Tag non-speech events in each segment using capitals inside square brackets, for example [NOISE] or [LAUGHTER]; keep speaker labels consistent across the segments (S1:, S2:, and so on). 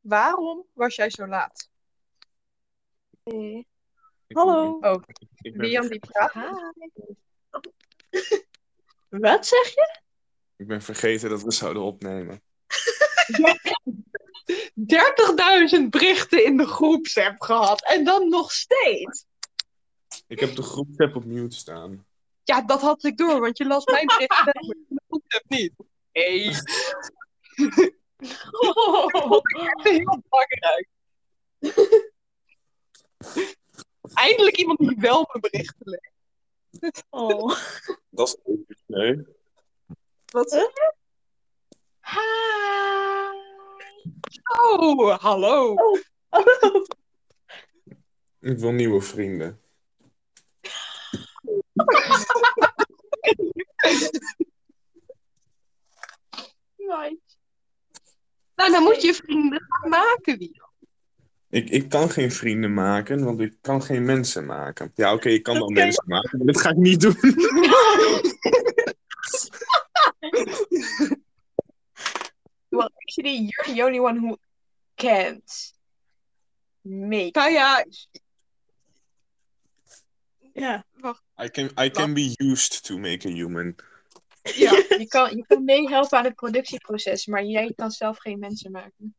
S1: Waarom was jij zo laat?
S2: Nee.
S3: Ik-
S2: Hallo.
S3: ik-
S1: Oh,
S3: ik ben-
S1: Liam die praat.
S4: [LAUGHS]
S2: Wat zeg je?
S3: Ik ben vergeten dat we zouden opnemen.
S2: 30.000 berichten in de groepsapp gehad. En dan nog steeds.
S3: Ik heb de groepsapp op mute staan.
S2: Ja, dat had ik door, want je las mijn
S3: [LAUGHS]
S2: berichten. maar je de groepsapp niet. Nee.
S4: [LAUGHS]
S2: Oh, [LAUGHS] heel belangrijk. [LAUGHS] Eindelijk iemand die wel mijn berichten leest. Oh.
S3: Dat is ook nee.
S1: Wat?
S2: Oh, hallo.
S3: Ik wil nieuwe vrienden.
S2: Nou, dan moet je vrienden gaan maken, wie.
S3: Ik, ik kan geen vrienden maken, want ik kan geen mensen maken. Ja, oké, ik kan wel
S2: Oké.
S3: mensen maken, maar dat ga ik niet doen.
S4: Well, actually, you're the only one who can't make.
S2: Nou ja. Ja.
S3: I can, I can be used to make a human.
S4: Ja, je kan, je kan meehelpen aan het productieproces, maar jij kan zelf geen mensen maken.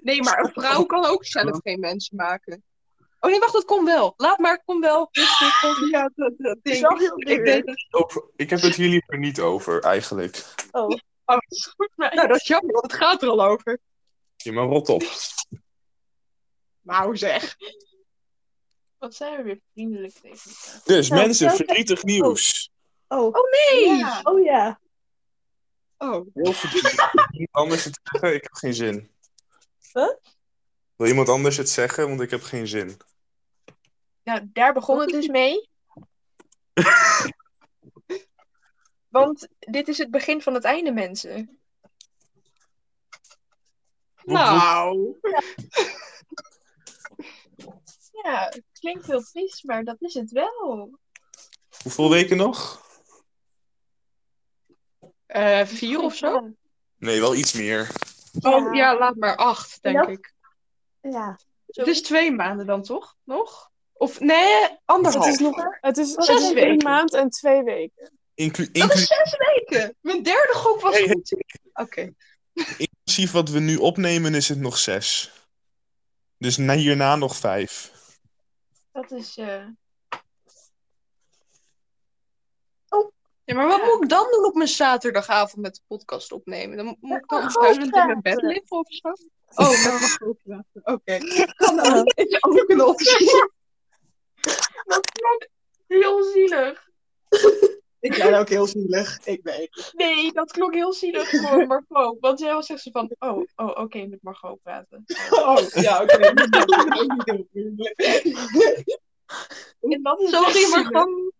S2: Nee, maar een vrouw kan ook zelf geen mensen maken. Oh nee, wacht, dat kon wel. Laat maar, kon wel. Dus ik kon- Ja, dat, dat ding.
S4: heel
S2: Ik deed het.
S3: Over- Ik heb het hier liever niet over, eigenlijk.
S2: Oh, nou, dat is jammer, want het gaat er al over.
S3: Je maar rot op.
S2: Nou zeg.
S4: Wat zijn we weer vriendelijk tegen elkaar.
S3: Dus,
S5: Nou,
S3: mensen,
S5: welke-
S3: verdrietig nieuws.
S5: Oh,
S2: Nee.
S4: Ja.
S5: oh ja.
S2: Oh.
S3: Heel verdrietig. Wil iemand anders het zeggen? Ik heb geen zin.
S5: Huh?
S3: Wil iemand anders het zeggen? Want ik heb geen zin.
S4: Nou, daar begon het dus [LAUGHS] mee. Want dit is het begin van het einde, mensen.
S3: Woep,
S2: Nou.
S4: Ja, het klinkt heel triest, maar dat is het wel.
S3: woep. Hoeveel weken nog?
S2: Eh, vier of zo?
S3: Nee, wel iets meer.
S2: Oh ja, laat maar acht, denk
S5: Ja.
S2: ik.
S5: eh, Ja.
S2: Het is twee maanden dan toch? Nog? Of nee,
S6: Het is
S2: anderhalf.
S6: nog het is, het
S2: Zes
S6: is
S2: weken.
S6: een maand en twee weken.
S3: Inclu-
S2: Dat is
S3: inclu-
S2: zes weken. Mijn derde gok was
S3: Hey, hey.
S2: goed. Oké.
S3: inclusief wat we nu opnemen is het nog zes. Dus na- hierna nog vijf.
S4: Dat is. eh,
S2: Ja, maar wat
S4: Ja.
S2: moet ik dan doen op mijn zaterdagavond met de podcast opnemen? Dan moet ik dan
S6: Ja,
S2: huilend in mijn bed
S6: praten.
S2: liggen of zo? Oh, dan mag ik ook praten. Oké. [LAUGHS] Kan ook. Is ook een optie.
S4: Heel zielig.
S2: Ik ben ook heel zielig. Ik weet.
S4: Nee, dat klonk heel zielig [LAUGHS] voor Margot. Want jij was echt zo van: oh, oh oké, met Margot praten.
S2: Oh, ja, oké. [LAUGHS] Dat kan ik ook niet doen.
S4: En dat is
S2: Sorry,
S4: echt
S2: maar
S4: zielig.
S2: gewoon...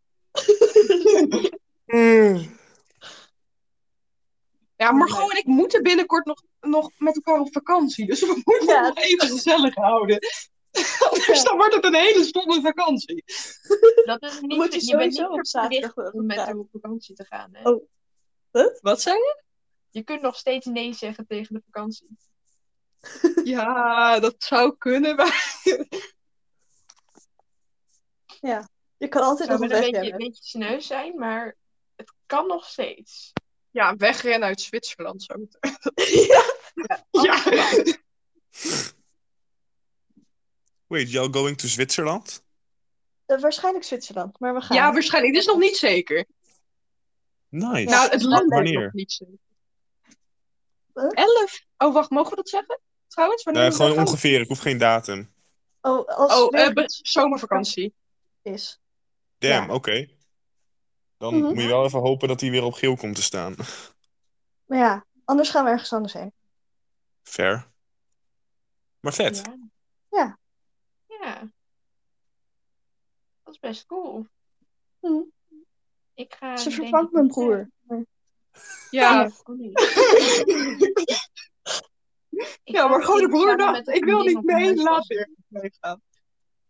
S2: Ja, Margot en ik moeten binnenkort nog, nog met elkaar op vakantie. Dus we moeten
S6: Ja.
S2: het nog even gezellig houden. Anders dan wordt het een hele stomme vakantie.
S4: Dat is niet,
S6: Dan moet je
S4: je bent niet
S6: sowieso op
S4: verplicht
S6: zaterdag wel
S4: om met
S6: praten.
S4: hem op vakantie te gaan. Hè?
S5: Oh.
S2: Wat zei je?
S4: Je kunt nog steeds nee zeggen tegen de vakantie.
S2: Ja, dat zou kunnen, maar...
S5: Je kan altijd
S4: Zou
S5: nog
S4: wel
S5: een
S4: een
S5: beetje
S4: beetje, een beetje sneus zijn, maar het kan nog steeds.
S2: Ja, wegrennen uit Zwitserland zo.
S5: [LAUGHS] Ja.
S2: Ja.
S3: Wait, y'all going to Zwitserland?
S5: Eh, waarschijnlijk Zwitserland, maar we gaan.
S2: ja, waarschijnlijk. Dit is nog niet zeker.
S3: Nice.
S2: Nou, het land is
S3: Wanneer?
S2: nog niet zeker.
S5: Huh?
S2: Elf. Oh, wacht. Mogen we dat zeggen? Trouwens, wanneer
S3: Eh,
S2: we
S3: gewoon
S2: gaan?
S3: ongeveer, ik hoef geen datum.
S5: Oh, als
S2: Oh,
S5: het
S2: eh, be- zomervakantie.
S5: is.
S3: Damn, oké. Dan
S5: Mhm.
S3: moet je wel even hopen dat hij weer op geel komt te staan.
S5: Maar ja, anders gaan we ergens anders heen.
S3: Fair. Maar vet.
S4: Ja.
S5: Ja.
S4: Ja. Dat is best cool.
S5: Hm.
S4: Ik ga.
S5: Ze
S4: denk
S5: vervangt
S4: ik
S5: mijn
S4: niet
S5: broer.
S2: Ja.
S4: weg. Oh, nee. [LAUGHS] Ik
S2: Ja,
S4: ga
S2: maar gewoon de
S4: misschien
S2: broer
S4: samen
S2: dacht,
S4: met een
S2: ik wil
S4: vriendin
S2: niet
S4: op mijn
S2: mee,
S4: huis
S2: laat
S4: passen.
S2: weer meegaan.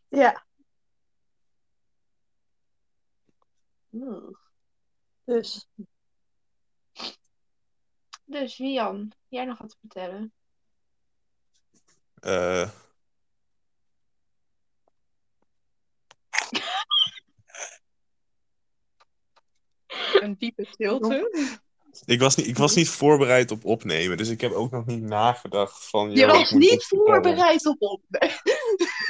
S5: Ja,
S4: Oeh.
S5: dus.
S2: [LAUGHS]
S4: Dus Wian, jij nog wat te vertellen?
S3: eh,
S2: Een diepe stilte.
S3: ik, was niet, ik was niet voorbereid op opnemen, dus ik heb ook nog niet nagedacht van...
S2: Je
S3: yo, ik
S2: was
S3: moet
S2: niet
S3: dit vertellen.
S2: voorbereid op op. [LAUGHS]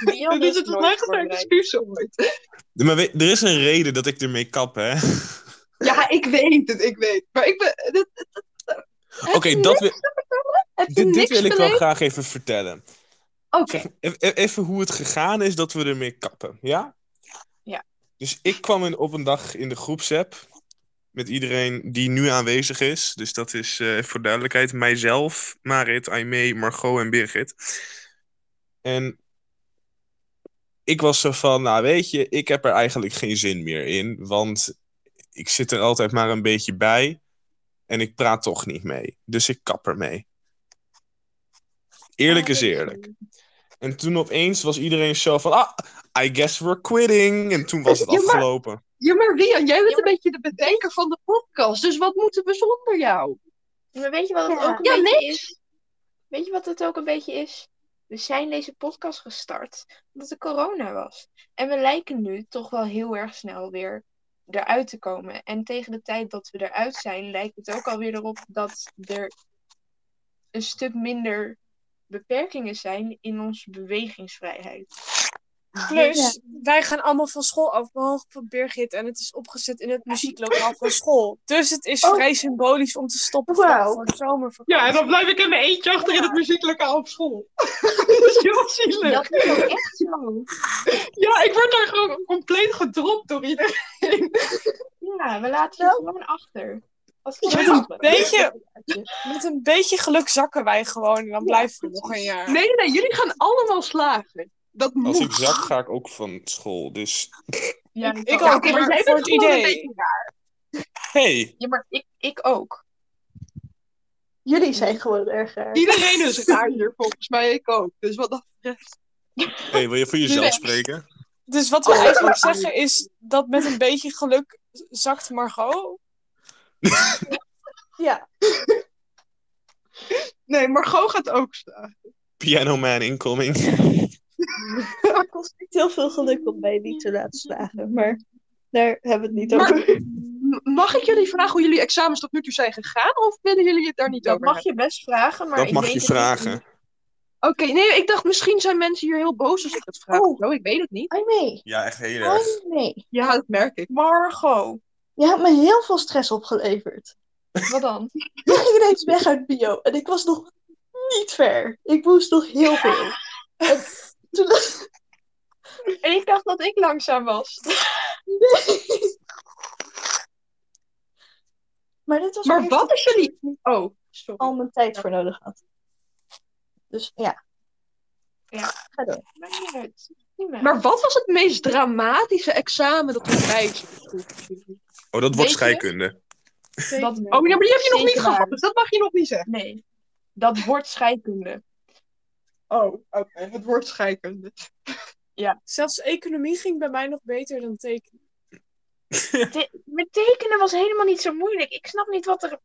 S4: Dion
S2: Dit is dus het
S4: nooit
S2: slechtste
S4: voorbereid.
S2: excuus ooit.
S3: Maar weet- er is een reden dat ik ermee kap, hè?
S2: Ja, ik weet het, ik weet. Maar ik ben. dit-
S3: Oké, dat wil,
S2: Heb je
S3: dit, dit
S2: niks
S3: wil ik wel
S2: beleefd?
S3: graag even vertellen.
S2: Oké.
S3: E- e- Even hoe het gegaan is dat we ermee kappen, ja?
S4: Ja.
S3: Dus ik kwam in, op een dag in de groepsapp met iedereen die nu aanwezig is. Dus dat is eh, voor duidelijkheid mijzelf, Marit, Aimee, Margot en Birgit. En ik was zo van, nou weet je, ik heb er eigenlijk geen zin meer in, want ik zit er altijd maar een beetje bij en ik praat toch niet mee. Dus ik kap ermee. Eerlijk is eerlijk. En toen opeens was iedereen zo van, ah, I guess we're quitting. En toen was het
S2: Ja, maar-
S3: afgelopen.
S2: Ja, maar Rian, jij bent
S4: Ja,
S2: een beetje de bedenker van de podcast. Dus wat moeten we zonder jou?
S4: Maar weet je wat het
S5: Ja.
S4: ook een
S2: Ja,
S4: beetje is? Weet je wat het ook een beetje is? We zijn deze podcast gestart omdat er corona was. En we lijken nu toch wel heel erg snel weer eruit te komen. En tegen de tijd dat we eruit zijn, lijkt het ook alweer erop dat er een stuk minder beperkingen zijn in onze bewegingsvrijheid.
S6: Plus, Dus wij gaan allemaal van school af, behalve voor Birgit. En het is opgezet in het muzieklokaal van school. Dus het is
S5: Oh.
S6: vrij symbolisch om te stoppen
S5: Wauw.
S6: voor de zomervakantie.
S2: dan blijf ik in mijn eentje achter in het muzieklokaal op school. [LAUGHS] dat is heel zielig.
S4: Dat is ook echt zo.
S2: Ja, ik word daar gewoon compleet gedropt door iedereen.
S4: Ja, we laten je gewoon achter. Dat is
S6: Met
S4: wel
S6: een, beetje, met een beetje geluk zakken wij gewoon. En dan blijven we nog een jaar.
S2: Nee, nee, jullie gaan allemaal slagen. Dat moet.
S3: Als ik zak, ga ik ook van school. Dus,
S4: Ja,
S6: Ik
S4: dat-
S6: ook,
S2: oké, maar
S6: maar
S2: jij
S6: voor
S2: bent
S6: het
S2: gewoon een
S6: idee.
S3: hey,
S4: Ja, maar ik, ik ook.
S5: Jullie zijn gewoon erg raar.
S2: Iedereen [LAUGHS] is raar hier, volgens mij ik ook. Dus wat dat betreft.
S3: hey, wil je voor jezelf
S2: Nee.
S3: spreken?
S6: Dus wat
S5: Oh,
S6: we eigenlijk zeggen is dat met een beetje geluk zakt Margot.
S5: Ja.
S2: Nee, Margot gaat ook slagen.
S3: Piano Man incoming.
S5: Het kost niet heel veel geluk om mij niet te laten slagen. Maar daar hebben we het niet
S2: Maar-
S5: over.
S2: M- Mag ik jullie vragen hoe jullie examens tot nu toe zijn gegaan? Of willen jullie het daar niet
S4: Dat
S2: over
S4: mag je best vragen, maar
S3: Dat
S4: ik
S3: mag
S4: weet
S3: je
S4: het niet.
S3: vragen.
S2: hebben? Oké, nee, ik dacht misschien zijn mensen hier heel boos als ik dat vraag.
S5: Oh.
S2: of zo, ik weet het niet.
S5: Ai nee.
S3: Ja, echt heel
S5: Ai nee.
S2: Ja, dat merk ik.
S4: Margot,
S5: Je hebt me heel veel stress opgeleverd.
S4: wat
S2: [LAUGHS]
S4: dan?
S5: Je ging ineens dus weg uit bio. En ik was nog niet ver. Ik moest nog heel veel. En toen [LAUGHS]
S4: En ik dacht dat ik langzaam was.
S5: Maar dit was
S2: Maar
S5: meer
S2: wat is jullie... Oh, sorry.
S5: al mijn tijd voor nodig had. Dus ja.
S4: Maakt niet uit. Niet meer.
S2: Maar wat was het meest dramatische examen dat we bij jullie?
S3: Oh, dat
S2: Weet
S3: wordt
S2: je?
S3: scheikunde.
S4: dat,
S2: Oh, ja, maar die heb je nog niet
S4: Zeker waar.
S2: gehad, dus dat mag je nog niet zeggen.
S4: Nee, dat wordt
S2: [LAUGHS]
S4: scheikunde.
S2: Oh, oké, het woord scheikunde.
S6: Zelfs economie ging bij mij nog beter dan tekenen.
S4: Te- maar tekenen was helemaal niet zo moeilijk. Ik snap niet wat er...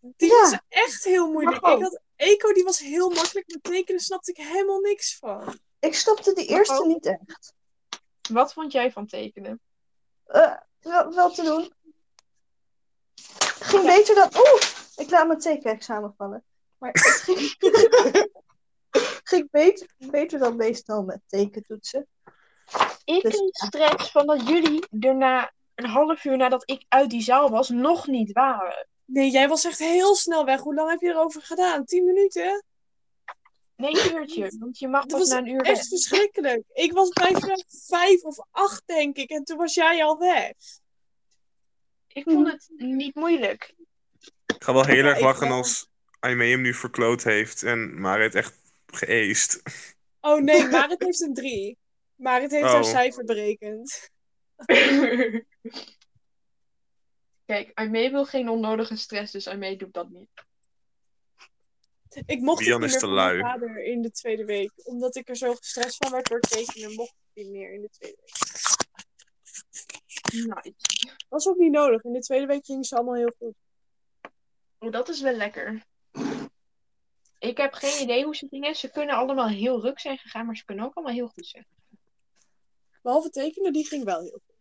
S6: Die
S5: Ja.
S6: was echt heel moeilijk.
S4: Margot.
S6: Ik had, eco die was heel makkelijk, maar tekenen snapte ik helemaal niks van.
S5: Ik snapte die eerste niet echt.
S4: Wat vond jij van tekenen?
S5: Eh, wel, wel te doen. Ging beter dan... Oeh, ik laat mijn tekenexamen vallen. Maar het ging, [LAUGHS] ging beter, beter dan meestal met tekentoetsen.
S4: Ik
S5: Dus-
S4: kreeg stress van dat jullie daarna, een half uur nadat ik uit die zaal was, nog niet waren.
S6: Nee, jij was echt heel snel weg. Hoe lang heb je erover gedaan? Tien minuten?
S4: Nee,
S2: [LAUGHS]
S4: een uurtje, want je mag
S6: Dat
S4: pas
S6: was
S4: na een uur weg.
S6: Echt verschrikkelijk. Ik was bij vraag vijf of acht, denk ik. En toen was jij al weg.
S4: Ik vond het niet moeilijk.
S3: Ik ga wel heel erg
S6: ik
S3: lachen
S6: wel.
S3: als Aimee hem nu verkloot heeft en Marit echt geëest.
S6: Oh
S3: [LAUGHS]
S6: nee, Marit heeft een drie. Marit heeft haar
S3: Oh.
S6: cijfer berekend.
S4: [LAUGHS] Kijk, Aimee wil geen onnodige stress, dus Aimee doet dat niet.
S6: Ik mocht het
S3: Rian
S6: niet
S3: is
S6: meer
S3: te
S6: van mijn
S3: lui.
S6: vader in de tweede week. Omdat ik er zo gestrest van werd door tekenen, mocht ik niet meer in de tweede week.
S4: Nice.
S6: Was ook niet nodig. In de tweede week ging ze allemaal heel goed.
S4: Oh, dat is wel lekker. Ik heb geen idee hoe ze dingen. Ze kunnen allemaal heel ruk zijn gegaan, maar ze kunnen ook allemaal heel goed zijn.
S6: Behalve tekenen, die ging wel heel goed.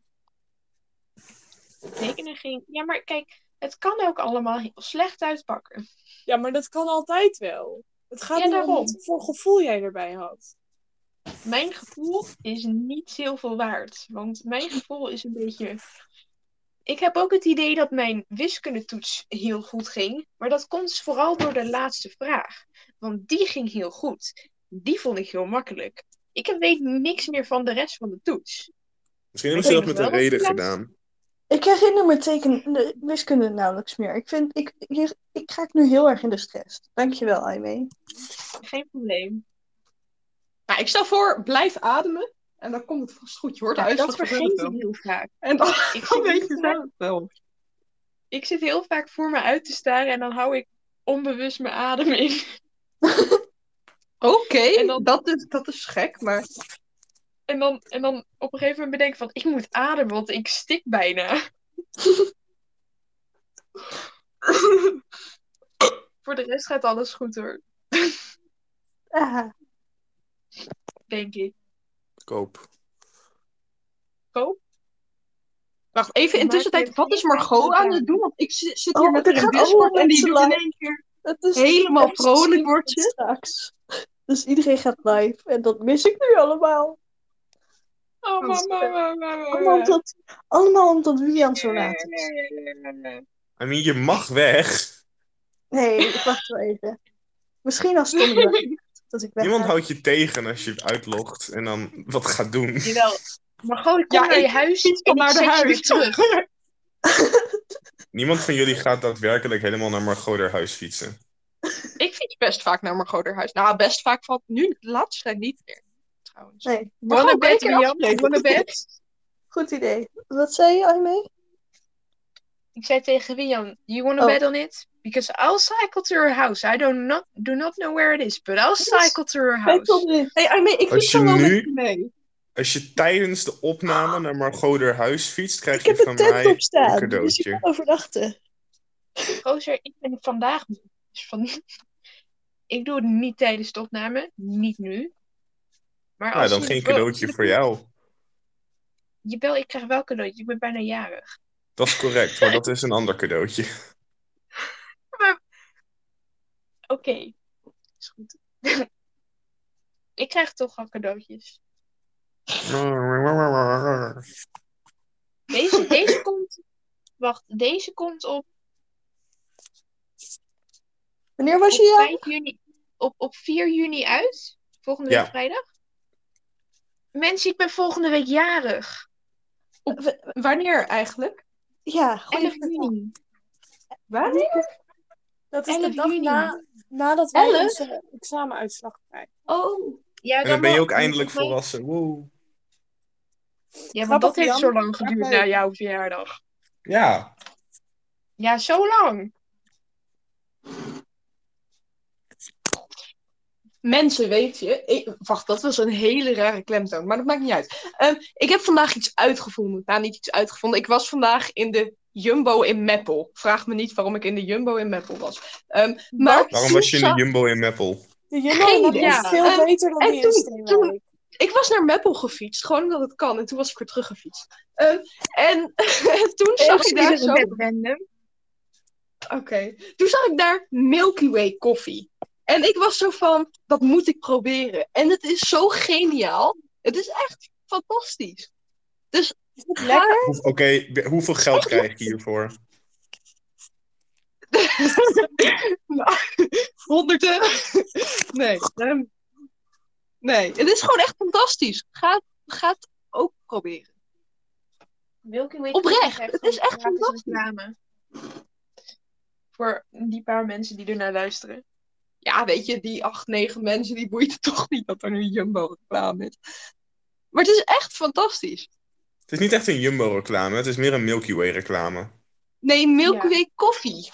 S4: Tekenen ging. Ja, maar kijk, het kan ook allemaal heel slecht uitpakken.
S6: Ja, maar dat kan altijd wel. Het gaat
S4: Ja,
S6: erom
S4: daarom.
S6: wat voor gevoel jij erbij had.
S4: Mijn gevoel is niet heel veel waard. Want mijn gevoel is een beetje. Ik heb ook het idee dat mijn wiskundetoets heel goed ging. Maar dat komt dus vooral door de laatste vraag. Want die ging heel goed. Die vond ik heel makkelijk. Ik weet niks meer van de rest van de toets.
S3: Misschien hebben ze
S4: Ik
S3: dat
S4: denk
S3: met
S4: wel
S3: een
S4: dat
S3: reden
S4: ze-
S3: gedaan.
S5: Ik herinner me teken de wiskunde nauwelijks meer. Ik vind, ik, hier, ik raak nu heel erg in de stress. Dankjewel, Aimee.
S4: Geen probleem.
S2: Nou, ik stel voor, blijf ademen. En dan komt het vast goed. Je hoort de
S4: Ja,
S2: uitslag
S4: dat
S2: van het
S4: vergeet ik
S2: wel.
S4: heel vaak.
S2: En dan,
S4: Ik
S2: dan
S4: zit,
S2: [LAUGHS] weet je
S4: heel vaak,
S2: zelf wel.
S4: ik zit heel vaak voor me uit te staren en dan hou ik onbewust mijn adem in.
S2: Oké,
S4: En dan-
S2: dat, is, dat is gek, maar...
S4: En dan, en dan op een gegeven moment bedenk ik van, ik moet ademen, want ik stik
S2: [LAUGHS]
S4: bijna. Voor de rest gaat alles goed hoor,
S5: Ah,
S4: denk ik.
S3: Koop.
S2: Wacht, even
S4: Maar
S2: intussen tijd.
S4: het
S2: Wat is
S4: heeft
S2: Margot
S4: geen
S2: aan het
S4: zin.
S2: doen? Want ik zi- zit
S5: Oh,
S2: hier met
S5: dit
S2: haar in
S5: gaat
S2: Discord
S5: allemaal
S2: en die
S5: net te
S2: doet in
S5: lang.
S2: één keer...
S5: het is
S2: Helemaal vrolijk wordt ze.
S5: Straks. Dus iedereen gaat live. En dat mis ik nu allemaal.
S4: Oh,
S2: Oh,
S4: mama, mama, mama.
S5: Allemaal omdat, allemaal omdat Wian zo laat is.
S3: I mean, je mag weg.
S5: Nee, ik wacht wel even. Misschien als Tommy
S2: [LAUGHS]
S5: wel zegt dat ik weg
S3: Niemand
S5: ga.
S3: houdt je tegen als je uitlogt en dan wat gaat doen.
S4: Jawel. Maar gewoon, ik kom
S2: Ja,
S4: naar je
S2: ik
S4: huis
S2: fiets
S4: en
S2: van
S4: ik
S2: naar de
S4: zet je weer
S2: huis.
S4: terug.
S3: Niemand van jullie gaat daadwerkelijk helemaal naar Margot haar huis fietsen.
S2: [LAUGHS] Ik fiets best vaak naar Margot haar huis. Nou, best vaak van nu de laatste tijd niet meer, trouwens.
S5: [LAUGHS] Nee,
S2: Maar
S4: Wanna
S2: gewoon
S4: bet,
S2: beter
S4: Rian?
S2: afspreken. [LAUGHS] Wanna bet?
S5: goed idee. Wat zei je, Aimee?
S4: Ik zei tegen Wian, you wanna
S5: Oh.
S4: bet on it? Because I'll cycle to her house. I do not, do not know where it is, but I'll cycle to her
S5: Wij
S4: house.
S5: konden dit.
S2: Nee, Armee, ik
S3: Als
S2: fiets
S3: je
S2: dan wel
S3: nu-
S2: met je mee.
S3: Als je tijdens de opname naar Margot haar huis fietst, krijg
S5: Ik heb
S3: je
S5: een
S3: van
S5: tent
S3: mij
S5: op staan.
S3: een
S5: Dus ik
S3: cadeautje.
S5: kan overnachten.
S4: Gozer, ik ben vandaag moe. Dus van... [LAUGHS] Ik doe het niet tijdens de opname. Niet nu. Maar
S3: Nou,
S4: als
S3: dan
S4: je
S3: geen
S4: het wil-
S3: cadeautje voor jou.
S4: Jawel, ik krijg wel cadeautje. Ik ben bijna jarig.
S3: Dat is correct, maar dat is een ander cadeautje.
S4: Oké. Is goed. [LAUGHS] ik krijg toch al cadeautjes. Deze,
S3: [LAUGHS]
S4: deze komt... Wacht, deze komt op,
S5: Wanneer
S4: op
S5: was je jarig?
S4: 5 juni... Op, op 4 juni uit. Volgende
S3: Ja.
S4: week vrijdag. Mensen, ik ben volgende week jarig.
S2: Wanneer eigenlijk?
S5: Ja, goeie
S4: 11
S5: vraag.
S4: juni.
S2: Wanneer?
S6: Dat is de
S4: 11
S6: dag
S4: juni.
S6: na, nadat wij
S4: 11?
S6: onze examenuitslag krijgen.
S4: Oh. Ja,
S3: En dan ben je
S4: wel-
S3: ook eindelijk
S4: volgens mij-
S3: volwassen. Woe.
S4: Ja, want
S6: Grappig,
S4: dat heeft
S6: Jan.
S4: zo lang geduurd
S6: Grappig.
S4: na jouw verjaardag.
S3: Ja,
S4: Ja, zo lang.
S2: Mensen, weet je. ik- wacht, dat was een hele rare klemtoon, maar dat maakt niet uit. Ehm, ik heb vandaag iets uitgevonden. Nou, niet iets uitgevonden. Ik was vandaag in de Jumbo in Meppel. Vraag me niet waarom ik in de Jumbo in Meppel was. Ehm, maar
S3: waarom was je in
S2: toen
S3: de Jumbo in Meppel?
S2: Geen
S6: De Jumbo
S2: idee.
S6: is veel
S2: Ja.
S6: beter dan
S2: En
S6: die
S2: toen-
S6: in
S2: toen-
S6: Steenwijk.
S2: zag- ik was naar Meppel gefietst, gewoon omdat het kan. En toen was ik weer teruggefietst. Ehm, en [LAUGHS] toen zag ik daar zo...
S4: random.
S2: Oké. Toen zag ik daar Milky Way koffie. En ik was zo van, dat moet ik proberen. En het is zo geniaal. Het is echt fantastisch.
S6: Is het
S2: Ja.
S6: lekker?
S3: Hoe- Oké, hoeveel geld krijg je hiervoor?
S2: Nou, Honderden. Nee. ehm, nee, het is gewoon echt fantastisch. Ga, ga het ook proberen.
S4: Milky Way
S2: Oprecht,
S4: Cookies krijgt
S2: het is
S4: gewoon
S2: echt
S4: gratis
S2: fantastisch.
S4: reclame. Voor die paar mensen die ernaar luisteren.
S2: Ja, weet je, die acht, negen mensen, die boeit het [LAUGHS] toch niet dat er nu Jumbo-reclame is. Maar het is echt fantastisch.
S3: Het is niet echt een Jumbo-reclame, het is meer een Milky Way-reclame.
S2: Nee, Milky
S4: Ja.
S2: Way koffie.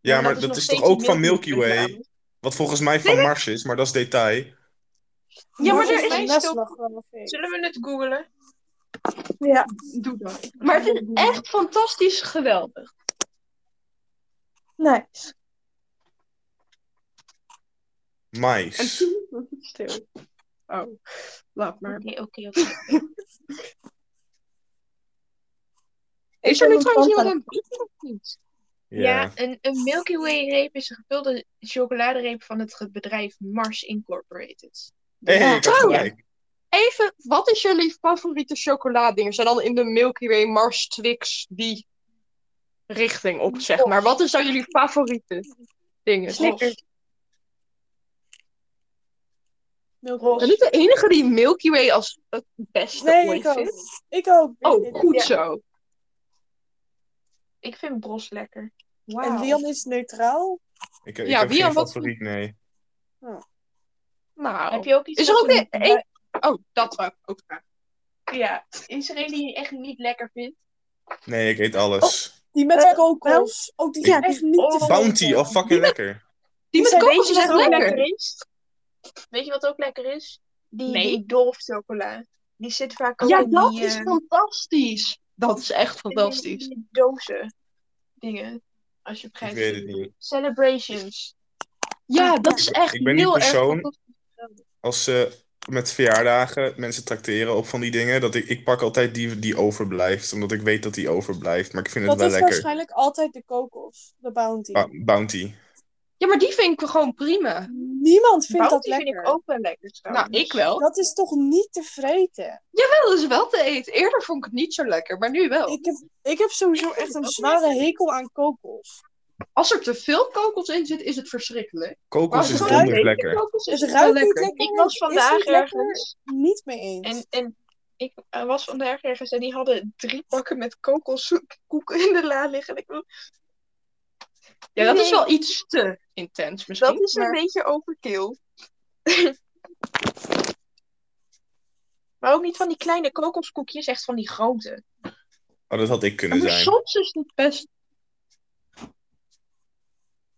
S3: Ja, maar dat
S4: nog
S3: is
S4: steeds
S3: toch ook
S4: een
S3: van Milky Way?
S4: reclame.
S3: Wat volgens mij van Mars is, maar dat is detail.
S2: Ja, maar
S6: Dat
S2: er
S6: is
S2: is... dus
S4: een-
S6: best
S4: toch-
S6: nog wel een feest.
S4: Zullen we het googlen?
S5: Ja,
S2: Doe dat. Maar het is echt fantastisch geweldig.
S5: nice.
S2: En
S3: mais.
S2: toen was het stil. Oh, laat maar.
S4: Nee, oké, oké.
S2: Is er nu
S5: Ik ben
S2: trouwens
S5: ontvallen.
S2: iemand aan het eten of niet?
S3: Ja.
S4: Ja, een, een Milky Way reep is een gevulde chocoladereep van het ge- bedrijf Mars Incorporated.
S3: Hey, ik had
S2: Trouwens.
S3: gelijk.
S2: Even, wat is jullie favoriete chocoladedingers? En dan in de Milky Way, Mars, Twix, die richting op, zeg maar. Wat is dan jullie favoriete dingen?
S4: Snickers.
S2: Ben ik de enige die Milky Way als het beste
S6: Nee,
S2: ooit
S6: ik ook.
S2: vindt?
S6: Ik ook.
S2: Oh, goed
S4: Ja.
S2: zo.
S4: Ik vind Bros lekker.
S6: En Leon is neutraal.
S3: Ik, ik
S2: Ja,
S3: heb
S2: wie
S3: geen
S2: en wat-
S3: favoriet, nee.
S2: Nou,
S4: Heb je ook iets
S2: is er
S4: wat
S2: ook
S4: je
S2: weer
S4: niet-
S2: één... Oh, dat wou ik ook vragen.
S4: Ja, is er een die je echt niet lekker vindt?
S3: Nee, ik eet alles.
S6: Die met
S5: Eh,
S6: kokos. Oh, die zijn echt niet te
S4: Oh,
S3: Bounty,
S6: vergeten.
S3: oh fucking lekker.
S2: Die met
S6: zijn-
S2: kokos
S4: Weet je
S2: is
S4: wat
S2: echt
S4: ook lekker.
S2: lekker.
S4: is? Weet je wat ook lekker is? Die,
S2: Nee.
S4: die Dolf chocola. Die zit vaak ook
S2: Ja,
S4: in
S2: dat
S4: die,
S2: is
S4: eh,
S2: fantastisch. Dat is echt
S4: in
S2: fantastisch.
S4: die dozen dingen. Als je begrijpt.
S3: Ik weet
S4: wat
S3: het
S4: bedoel.
S3: niet.
S4: Celebrations.
S2: Ja, dat is echt
S3: Ik ben die
S2: heel erg
S3: persoon.
S2: fantastisch.
S3: Als ze met verjaardagen mensen trakteren op van die dingen, dat ik, ik pak altijd die die overblijft, omdat ik weet dat die overblijft. Maar ik vind het
S6: Dat
S3: wel Ah.
S6: is
S3: lekker.
S6: waarschijnlijk altijd de kokos. De bounty.
S3: Ba- Bounty.
S2: Ja, maar die vind ik gewoon prima.
S6: Niemand vindt
S4: Bounty
S6: dat
S4: vind
S6: lekker.
S4: ik ook wel lekker trouwens.
S2: Nou, ik wel.
S6: Dat is toch niet te vreten?
S2: Jawel, dat is wel te eten. Eerder vond ik het niet zo lekker, maar nu wel.
S6: Ik heb, ik heb sowieso echt een zware hekel aan kokos.
S2: Als er te veel kokos in zit, is het verschrikkelijk.
S3: Kokos
S2: Maar
S3: is
S2: het
S6: ruikt
S3: donders lekker.
S2: Kokos
S6: Het
S2: is
S6: Dus
S2: wel
S6: ruikt niet
S2: lekker.
S6: lekker.
S4: Ik was
S6: Is niet
S4: vandaag
S6: lekker.
S4: ergens.
S6: Niet mee eens.
S4: En, en ik eh, was vandaag ergens en die hadden drie pakken met kokoskoeken in de la liggen. En ik, dacht,
S2: Ja, dat is
S4: Nee.
S2: wel iets te intens misschien.
S4: dat is een
S2: maar-
S4: beetje overkill. [LAUGHS] maar ook niet van die kleine kokoskoekjes, echt van die grote.
S3: Oh, dat had ik kunnen
S2: Maar
S3: zijn.
S2: soms is het best...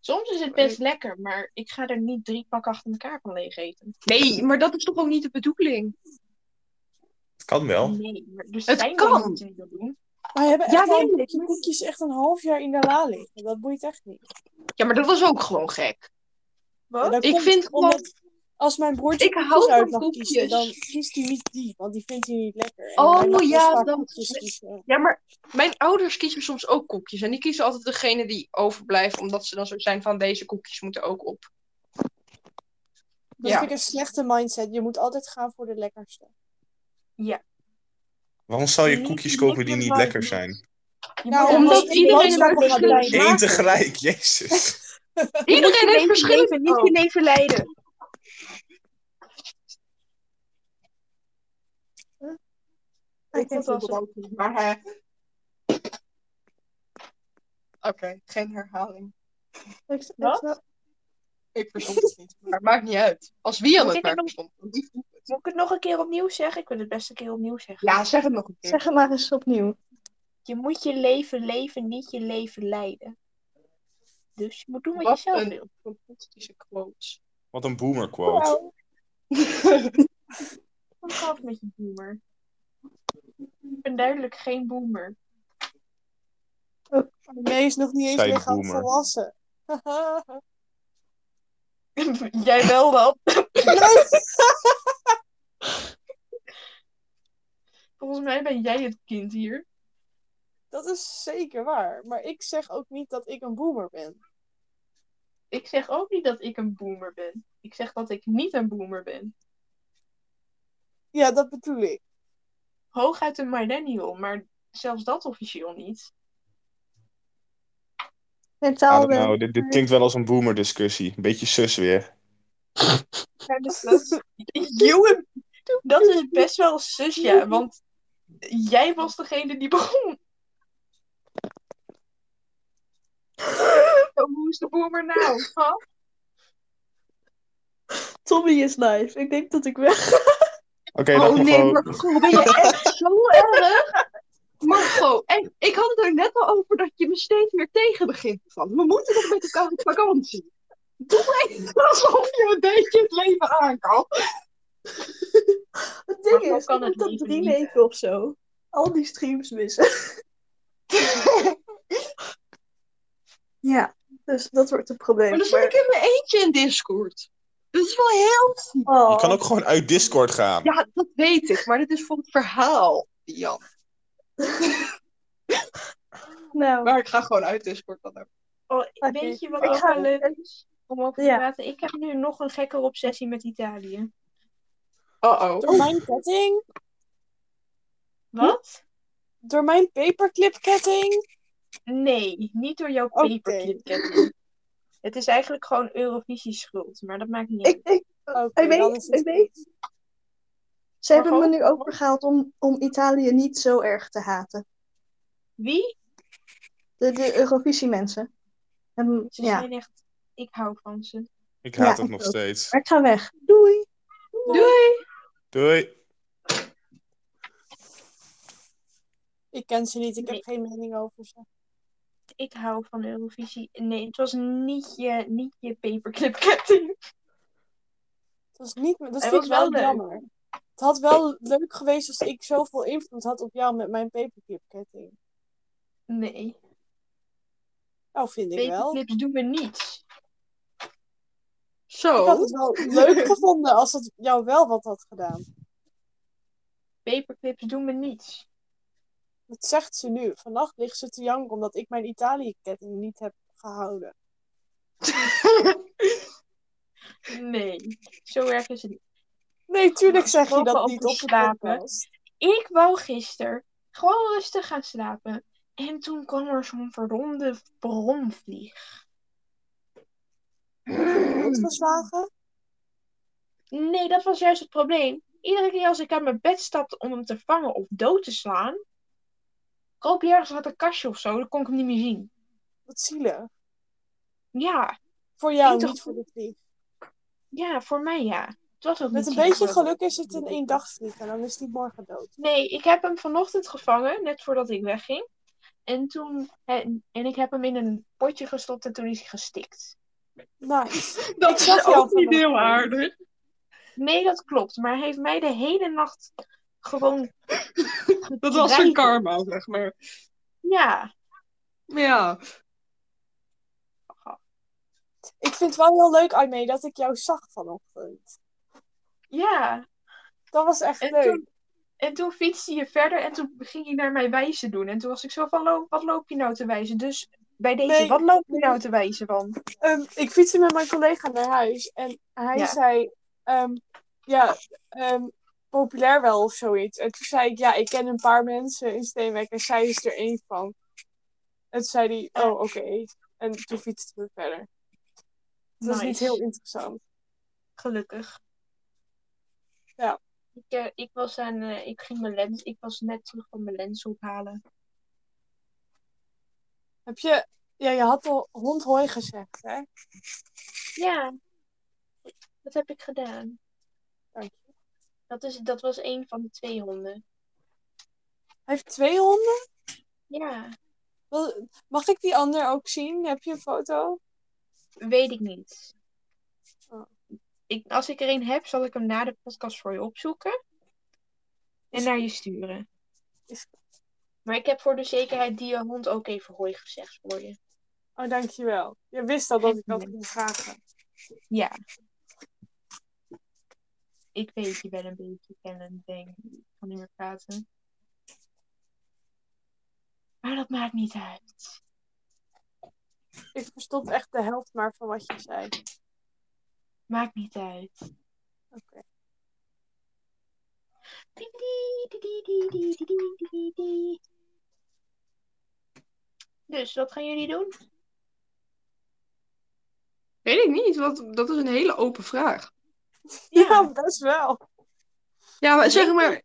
S4: Soms is het best lekker, maar ik ga er niet drie pakken achter elkaar van leeg eten.
S2: Nee, maar dat is toch ook niet de bedoeling?
S3: Het kan wel.
S4: Nee, maar dus
S2: Het
S4: zijn
S2: kan.
S4: mensen die dat doen.
S6: Maar hebben
S2: Ja,
S6: echt al
S2: nee,
S6: die koekjes echt een half jaar in de la liggen. Dat boeit echt niet.
S2: Ja, maar dat was ook gewoon gek.
S6: En dat
S2: Ik
S6: komt
S2: vind
S6: omdat
S2: gewoon-
S6: Als mijn broertje
S2: Ik
S6: koekjes
S2: hou
S6: uit
S2: van
S6: mag
S2: koekjes.
S6: kiezen, dan kiest hij niet die. Want die vindt hij niet lekker. En
S2: Oh,
S6: hij mag best
S2: ja,
S6: vaak
S2: dat-
S6: koekjes kiezen.
S2: Ja, maar mijn ouders kiezen soms ook koekjes. En die kiezen altijd degene die overblijft, omdat ze dan zo zijn van deze koekjes moeten ook [LAUGHS] op.
S6: Dat
S2: Ja.
S6: vind ik een slechte mindset. Je moet altijd gaan voor de lekkerste.
S3: Waarom zou je
S4: Niet
S3: koekjes kopen die
S4: lekker
S3: niet
S4: maar
S3: lekker
S4: niet.
S3: zijn?
S6: Nou,
S2: omdat
S6: als ik
S2: iedereen
S6: boodschappen
S2: een
S6: ga
S2: verschillende-
S6: doen,
S3: Eén tegelijk, [LAUGHS] jezus.
S2: Iedereen heeft
S4: Leven,
S2: verschillende
S4: leven, Niet Oh. je leven leiden.
S5: Ik vind het wel
S4: Maar eh,
S2: [LAUGHS] Oké, geen herhaling.
S5: Ik- ik
S4: Wat?
S5: snap-
S2: Ik verstond het niet. Maar het maakt niet uit. Als wie
S4: Moet
S2: het
S4: ik
S2: maar
S4: het nog-
S2: verstond. want die-
S4: Moet ik het nog een keer opnieuw zeggen? Ik wil het best een keer opnieuw zeggen.
S2: Ja, zeg het nog een keer.
S5: Zeg het maar eens opnieuw.
S4: Je moet je leven leven, niet je leven leiden. Dus je moet doen wat,
S2: Wat
S4: je zelf
S2: een-
S4: wil.
S2: Fantastische quotes.
S3: Wat een boomer quote.
S4: Nou, wat gaat met je boomer? Ik ben duidelijk geen boomer. [LAUGHS]
S6: Nee, is nog niet eens
S3: Zij
S6: legaal
S3: boomer.
S6: volwassen.
S4: Jij wel dan? Volgens mij ben jij het kind hier.
S6: dat is zeker waar. Maar ik zeg ook niet dat ik een boomer ben.
S4: Ik zeg ook niet dat ik een boomer ben. Ik zeg dat ik niet een boomer ben.
S6: Ja, dat bedoel ik.
S4: Hooguit een millennial, maar zelfs dat officieel niet.
S5: Mentaal
S3: I
S5: eh,
S3: don't
S5: wel.
S3: know, Ah, nou, dit, dit klinkt wel als een boomer discussie. Beetje sus weer.
S4: Ja, dus dat, Joe, dat is best wel sus, ja. Want jij was degene die begon. [LAUGHS] Zo, Hoe is de boomer nou? Huh?
S5: Tommy is live. Ik denk dat ik weg.
S3: Oké,
S2: Oh,
S3: dat mag ook.
S2: Margot, ben je echt zo erg? Margot, echt, ik had het er net al over dat je me steeds weer tegen begint te vallen. We moeten nog met elkaar op vakantie. Doe even alsof je een beetje het leven aan kan.
S5: Het
S4: Maar
S5: ding
S4: zo
S5: is,
S4: kan
S5: ik
S4: het
S5: moet dat
S4: leven
S5: drie
S4: niet.
S5: weken of zo. Al die streams missen.
S3: [LAUGHS]
S5: ja, dus dat wordt een probleem.
S2: Maar dan zit
S5: Maar
S2: ik in mijn eentje in Discord. Dat is wel heel ziek.
S5: Oh.
S3: Je kan ook gewoon uit Discord gaan.
S2: Ja, dat weet ik, maar dit is voor het verhaal, Jan.
S5: Nou,
S2: Maar ik ga gewoon uit Discord dan ook.
S4: Oh,
S5: Oké.
S4: Weet je wat
S5: Ik
S4: ook
S5: ga-
S4: wel leuk is om over te
S5: Ja.
S4: praten? Ik heb nu nog een gekkere obsessie met Italië.
S2: Uh-oh.
S6: Door mijn ketting,
S5: Hm?
S4: Wat?
S6: door mijn paperclip ketting.
S4: Nee, niet door jouw
S6: Oké.
S4: paperclipketting. Het is eigenlijk gewoon Eurovisie schuld, maar dat maakt niet uit.
S5: ik, ik,
S6: Oké,
S5: ik weet,
S6: dan is het-
S5: ik weet. Ze hebben me
S4: Margot?
S5: nu overgehaald om, om Italië niet zo erg te haten.
S4: Wie?
S5: De, de Eurovisie-mensen. Hebben-
S4: Ze
S5: ja,
S4: zijn echt... Ik hou van ze.
S3: Ik haat
S5: Ja,
S3: het
S5: ik
S3: nog
S5: ook.
S3: steeds.
S5: maar ik ga weg. Doei.
S4: Doei!
S3: Doei.
S6: Ik ken ze niet, ik heb
S4: Nee.
S6: geen mening over ze.
S4: Ik hou van Eurovisie. Nee, het was niet je, niet je paperclipketting.
S6: Dat is niet, dat
S4: Hij
S6: vind
S4: was
S6: ik
S4: wel
S6: wel
S4: leuk.
S6: jammer. Het had wel leuk geweest als ik zoveel invloed had op jou met mijn paperclip ketting.
S4: Nee,
S6: Nou, vind ik wel.
S4: paperclips doen me niets.
S2: Zo.
S6: Ik had
S2: [LAUGHS]
S6: het wel
S4: [LAUGHS]
S6: leuk gevonden als het jou wel wat had gedaan.
S4: Paperclips doen me niets.
S6: Dat zegt ze nu. Vannacht ligt ze te janken omdat ik mijn Italië-ketting niet heb gehouden.
S4: Nee, zo erg is het niet.
S6: Nee, tuurlijk zeg je dat
S4: Gesproken
S6: niet
S4: over
S6: op de
S4: slapen.
S6: podcast.
S4: Ik wou gisteren gewoon rustig gaan slapen. En toen kwam er zo'n verronde bronvlieg.
S6: Rondgeslagen?
S4: Nee, dat was juist het probleem. Iedere keer als ik uit mijn bed stapte om hem te vangen of dood te slaan, kroop hij ergens uit een kastje of zo. Dan kon ik hem niet meer zien.
S6: Wat zielig.
S4: Ja,
S6: Voor jou,
S4: Ging toch
S6: niet voor de vlieg.
S4: Ja, voor mij ja. Het was ook
S6: Met een
S4: niet
S6: beetje
S4: zielig.
S6: geluk is het een één dag vlieg en dan is die morgen dood.
S4: Nee, ik heb hem vanochtend gevangen, net voordat ik wegging. En toen. En, en ik heb hem in een potje gestopt en toen is hij gestikt.
S6: Nice.
S2: Dat
S6: Ik zag
S2: is
S6: jou
S2: ook niet
S6: vannacht.
S2: heel aardig.
S4: Nee, dat klopt. Maar hij heeft mij de hele nacht gewoon.
S2: Dat was zijn
S4: Rijden.
S2: karma, zeg maar.
S4: Ja.
S2: Ja.
S6: Ik vind het wel heel leuk, Aimee, dat ik jou zag vanochtend.
S4: Ja.
S6: Dat was echt
S4: En
S6: leuk.
S4: toen. En toen fietste je verder en toen ging hij naar mij wijzen doen. En toen was ik zo van, "Lo- wat loop je nou te wijzen? Dus bij deze,
S6: Nee.
S4: wat loop je nou te wijzen van?
S6: Ehm, ik fietste met mijn collega naar huis en hij
S4: Ja.
S6: zei, ehm, ja, ehm, populair wel of zoiets. En toen zei ik, ja, ik ken een paar mensen in Steenwijk en zij is er één van. En toen zei hij, oh, oké. En toen fietste we verder. Dat was niet
S4: Nice.
S6: heel interessant.
S4: Gelukkig.
S6: Ja.
S4: Ik, eh, ik was aan, eh, ik ging mijn lens, ik was net terug van mijn lens ophalen.
S6: Heb je, ja, je had al hondhooi gezegd, hè?
S4: Ja. Dat heb ik gedaan.
S6: Dank
S4: je. Dat, is, dat was een van de twee honden.
S6: Hij heeft twee honden.
S4: Ja.
S6: Wil- Mag ik die ander ook zien? Heb je een foto?
S4: Weet ik niet.
S6: Oh.
S4: Ik, als ik er een heb, zal ik hem na de podcast voor je opzoeken. En naar je sturen.
S6: Is-
S4: Maar ik heb voor de zekerheid die hond ook even hooi gezegd voor je.
S6: Oh, dankjewel. Je wist al dat ik dat
S4: Geen
S6: ging vragen.
S4: Ja. Ik weet je wel een beetje kennen, denk ik. Ik kan niet meer praten. Maar dat maakt niet uit.
S6: Ik verstond echt de helft maar van wat je zei.
S4: Maakt niet uit.
S6: Oké.
S4: Dus, wat gaan jullie doen?
S2: Weet ik niet, want dat is een hele open vraag.
S6: Ja, best wel.
S2: Ja, maar zeg maar,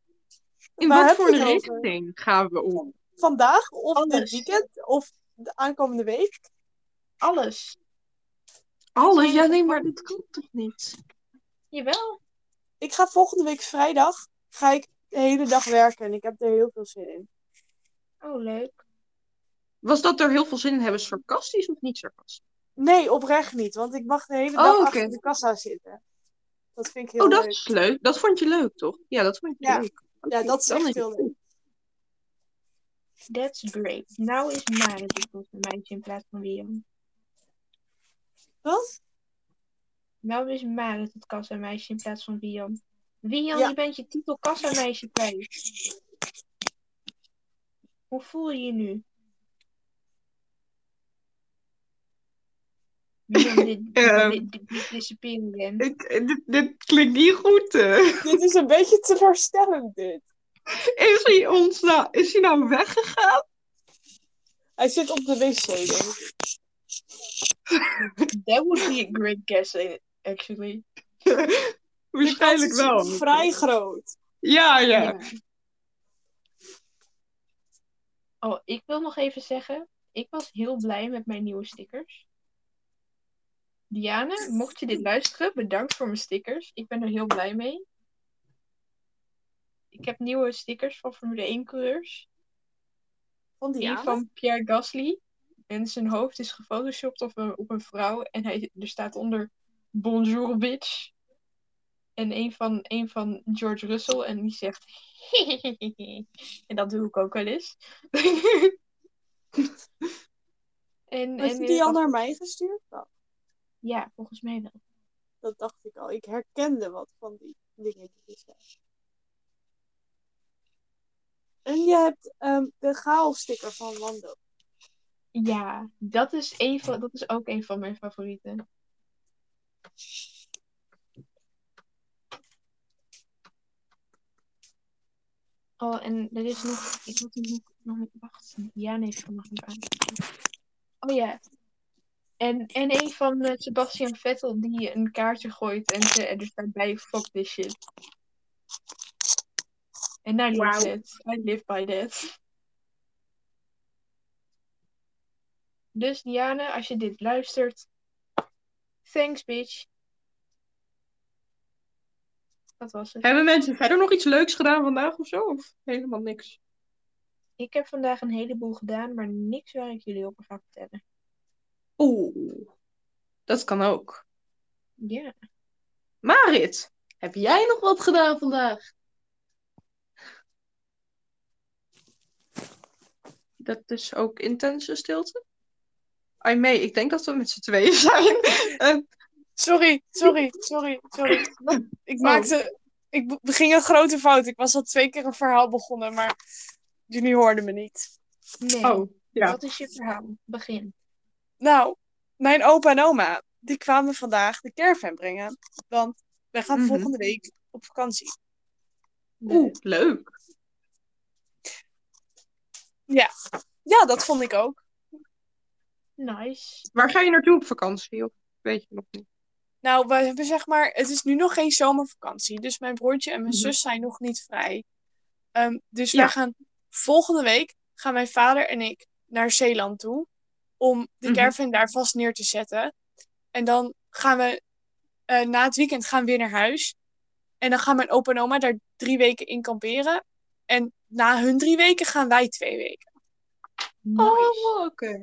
S2: in
S6: Waar
S2: wat
S6: heb
S2: voor
S6: je
S2: een
S6: het over?
S2: richting gaan we om?
S6: Vandaag of dit
S4: Alles.
S6: weekend of de aankomende week?
S4: Alles.
S2: Alles? Ja, nee, maar dat klopt toch niet?
S4: Jawel.
S6: Ik ga volgende week vrijdag ga ik de hele dag werken en ik heb er heel veel zin in.
S4: Oh, leuk.
S2: Was dat er heel veel zin in hebben sarcastisch of niet sarcastisch?
S6: Nee, oprecht niet, want ik mag de hele
S2: Oh,
S6: dag
S2: oké.
S6: achter de kassa zitten. Dat vind ik heel
S2: oh, dat
S6: leuk.
S2: is leuk. Dat vond je leuk, toch? Ja, dat vond je
S6: Ja.
S2: leuk.
S6: Ja, dat is
S2: Dan
S6: echt
S2: het
S6: heel leuk.
S4: That's great. Nou is Mare de meisje in plaats van Liam.
S6: Wat?
S4: Wel is Marit het kassameisje in plaats van Wian. Wian,
S6: Ja.
S4: je bent je titel kassameisje kwijt. Hoe voel je je nu? Wian, dit,
S2: Ehm.
S4: dit, dit, dit disappearing again.
S2: Ik- eh, dit, dit klinkt niet goed. eh.
S6: Dit is een beetje teleurstellend, dit.
S2: Is hij, ons nou, is hij nou weggegaan?
S6: Hij zit op de wc, denk ik.
S4: That would be a great guess, eh, actually.
S6: De kans
S2: Waarschijnlijk
S6: is
S2: wel.
S6: vrij groot.
S2: Ja, ja.
S4: Oh, ik wil nog even zeggen, ik was heel blij met mijn nieuwe stickers. Diane, mocht je dit luisteren, bedankt voor mijn stickers. Ik ben er heel blij mee. Ik heb nieuwe stickers van Formule 1-coureurs.
S6: Van
S4: Die van Pierre Gasly. En zijn hoofd is gefotoshopt op een, op een vrouw. En hij, er staat onder Bonjour, bitch. En een van, een van George Russell. En die zegt... [LAUGHS] en dat doe ik ook wel eens. [LAUGHS] en,
S6: Had
S4: en,
S6: je die
S4: eh,
S6: al naar mij gestuurd? Nou,
S4: Ja, volgens mij wel.
S6: dat dacht ik al. Ik herkende wat van die dingen die je zei. En je hebt ehm, de chaos-sticker van Wando.
S4: Ja, dat is, een van, dat is ook een van mijn favorieten. Oh, en er is nog... Ik moet hem nog... nog wacht, Diane heeft hem nog niet aan. Oh ja. En, en een van eh, Sebastian Vettel die een kaartje gooit en ze er dus daarbij fuck this shit. En I love that. I live by that. Dus Diane, als je dit luistert, thanks bitch. Dat was het.
S2: Hebben mensen verder nog iets leuks gedaan vandaag of zo? Of helemaal niks?
S4: Ik heb vandaag een heleboel gedaan, maar niks waar ik jullie over ga vertellen.
S2: Oeh, dat kan ook.
S4: Ja.
S2: Marit, heb jij nog wat gedaan vandaag? Dat is ook intense stilte. Ai mee, ik denk dat we met z'n tweeën [LAUGHS] zijn. Eh,
S6: Sorry, sorry, sorry, sorry. Ik maakte... Ik be- beging een grote fout. Ik was al twee keer een verhaal begonnen, maar jullie hoorden me niet.
S4: Nee.
S2: oh, ja.
S4: Wat is je verhaal? Begin.
S6: Nou, mijn opa en oma, die kwamen vandaag de caravan brengen. Want wij gaan
S2: Mhm.
S6: volgende week op vakantie.
S2: Oeh, leuk.
S6: Ja, dat vond ik ook.
S4: Nice.
S2: Waar ga je naartoe op vakantie? Of weet je nog niet?
S6: Nou, we hebben zeg maar, het is nu nog geen zomervakantie. Dus mijn broertje en mijn
S2: Mhm.
S6: zus zijn nog niet vrij. Ehm, dus
S2: Ja.
S6: wij gaan volgende week gaan mijn vader en ik naar Zeeland toe. Om de
S2: Mhm.
S6: caravan daar vast neer te zetten. En dan gaan we eh, na het weekend gaan we weer naar huis. En dan gaan mijn opa en oma daar drie weken in kamperen. En na hun drie weken gaan wij twee weken.
S2: Oh.
S4: Nice.
S2: oké.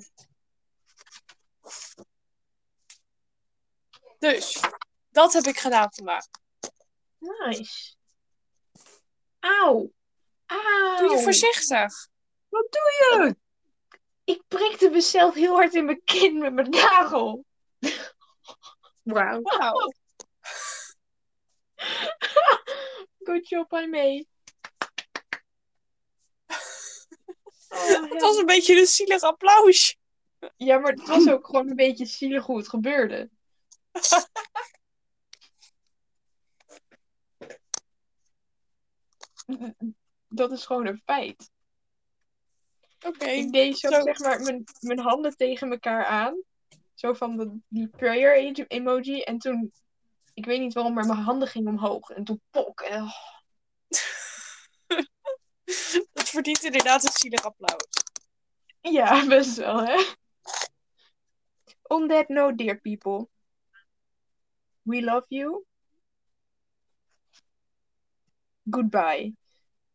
S6: Dus dat heb ik gedaan vandaag.
S4: Nice. Auw. Auw.
S6: Doe je voorzichtig.
S4: Ik prikte mezelf heel hard in mijn kin met mijn nagel.
S2: Wauw.
S6: Wauw.
S4: Good job, I mee.
S6: Het was een beetje een zielig applaus.
S4: ja, maar het was ook gewoon een beetje zielig hoe het gebeurde. Dat is gewoon een feit.
S6: Oké.
S4: Ik deed zo,
S6: Zo.
S4: zeg maar mijn, mijn handen tegen elkaar aan. Zo van de, die prayer emo- emoji. En toen, ik weet niet waarom, maar mijn handen gingen omhoog. En toen pok. En, oh,
S6: [LAUGHS] Dat verdient inderdaad een zielig applaus.
S4: ja, [LAUGHS] best wel, hè? On that note, dear people. We love you. Goodbye.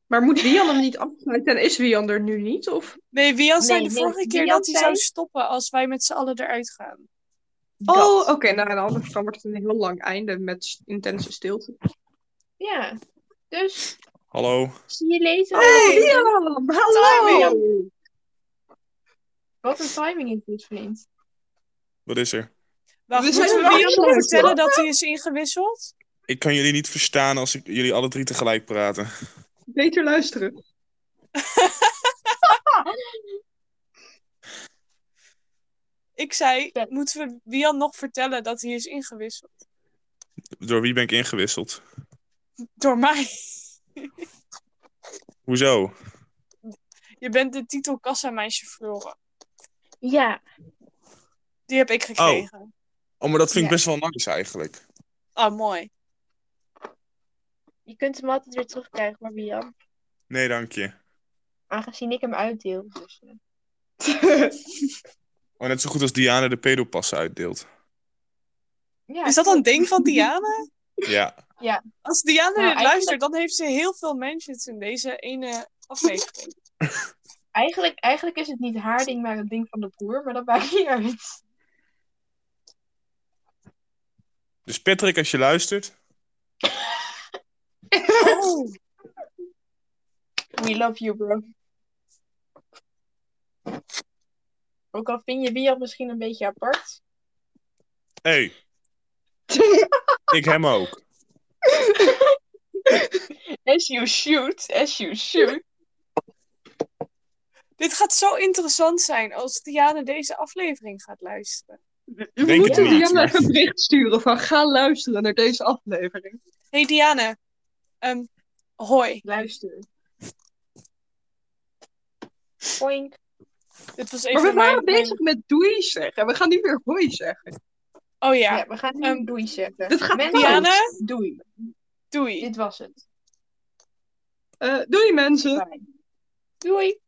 S2: Maar moet Wian hem niet afsluiten? En is Wian er nu niet? Of...
S6: Nee, Wian zei
S4: Nee,
S6: de
S4: nee,
S6: vorige keer
S4: Wian
S6: dat hij
S4: zei-
S6: zou stoppen als wij met z'n allen eruit gaan.
S2: Oh,
S4: Dat.
S2: oké. nou, anders dan wordt het een heel lang einde met s- intense stilte.
S4: Ja. Dus,
S3: Hallo.
S4: see you later.
S2: Wian!
S6: Wian!
S4: Wat een timing is dit, vriend.
S3: Wat is er?
S6: Wacht,
S2: We zijn
S6: moeten we
S2: wel
S6: Wian nog
S2: gehoord,
S6: vertellen dat hij is ingewisseld?
S3: Ik kan jullie niet verstaan als ik jullie alle drie tegelijk praten.
S2: Beter luisteren. [LAUGHS]
S6: Ik zei,
S4: Ja.
S6: moeten we Wian nog vertellen dat hij is ingewisseld?
S3: Door wie ben ik ingewisseld?
S6: Door mij.
S3: Hoezo?
S6: Je bent de titel kassameisje verloren.
S4: Ja,
S6: Die heb ik gekregen.
S3: Oh, maar dat vind ik
S4: Ja.
S3: best wel nice eigenlijk.
S6: Ah, mooi.
S4: je kunt hem altijd weer terugkrijgen, maar Bian.
S3: Nee, dank je.
S4: Aangezien ik hem uitdeel. Dus, eh.
S3: Oh, net zo goed als Diana de pedopassen uitdeelt.
S4: ja,
S6: Is dat een ding van Diana?
S3: Ja.
S6: Als Diana dit
S4: Nou, eigenlijk-
S6: luistert, dan heeft ze heel veel mentions in deze ene
S4: [LAUGHS]
S6: aflevering.
S4: Eigenlijk, eigenlijk is het niet haar ding, maar het ding van de broer, maar dat maakt niet uit.
S3: Dus Patrick, als je luistert.
S4: Oh. We love you, bro. Ook al vind je Bian misschien een beetje
S6: [LAUGHS]
S4: apart.
S3: Hé, hey, ik hem ook.
S4: as you shoot, as you shoot.
S6: Dit gaat zo interessant zijn als Diana deze aflevering gaat luisteren.
S2: We
S3: Denk het
S2: moeten
S3: niet,
S2: Diana
S3: maar-
S2: een bericht sturen van ga luisteren naar deze aflevering.
S6: Hey Diana, ehm, hoi.
S4: Luister. Poink.
S6: Dit was
S2: Maar
S6: even
S2: we
S6: mijn...
S2: waren bezig met doei zeggen. We gaan nu weer hoi zeggen.
S6: Oh
S4: Ja,
S6: ja,
S4: we gaan nu
S6: Ehm,
S4: doei zeggen.
S2: dit gaat
S4: Mensen,
S6: Diana?
S4: doei.
S6: doei.
S4: Dit was het.
S2: Eh, doei mensen.
S4: Bye. Doei.